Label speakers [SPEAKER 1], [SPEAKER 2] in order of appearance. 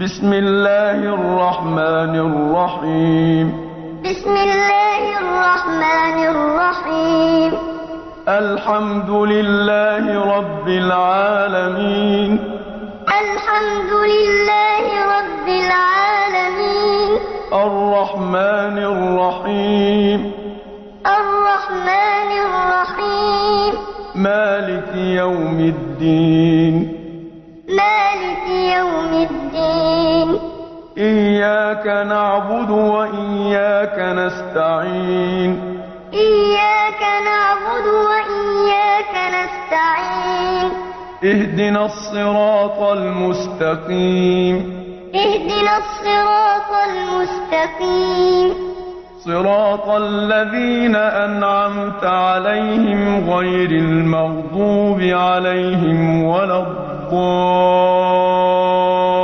[SPEAKER 1] بسم الله الرحمن الرحيم
[SPEAKER 2] بسم الله الرحمن الرحيم
[SPEAKER 1] الحمد لله رب العالمين
[SPEAKER 2] الحمد لله رب العالمين
[SPEAKER 1] الرحمن الرحيم
[SPEAKER 2] الرحمن الرحيم
[SPEAKER 1] مالك يوم الدين
[SPEAKER 2] مالك يوم الدين
[SPEAKER 1] إياك نعبد وإياك نستعين
[SPEAKER 2] إياك نعبد وإياك نستعين
[SPEAKER 1] اهدنا الصراط المستقيم
[SPEAKER 2] اهدنا الصراط المستقيم
[SPEAKER 1] صراط الذين أنعمت عليهم غير المغضوب عليهم ولا الضالين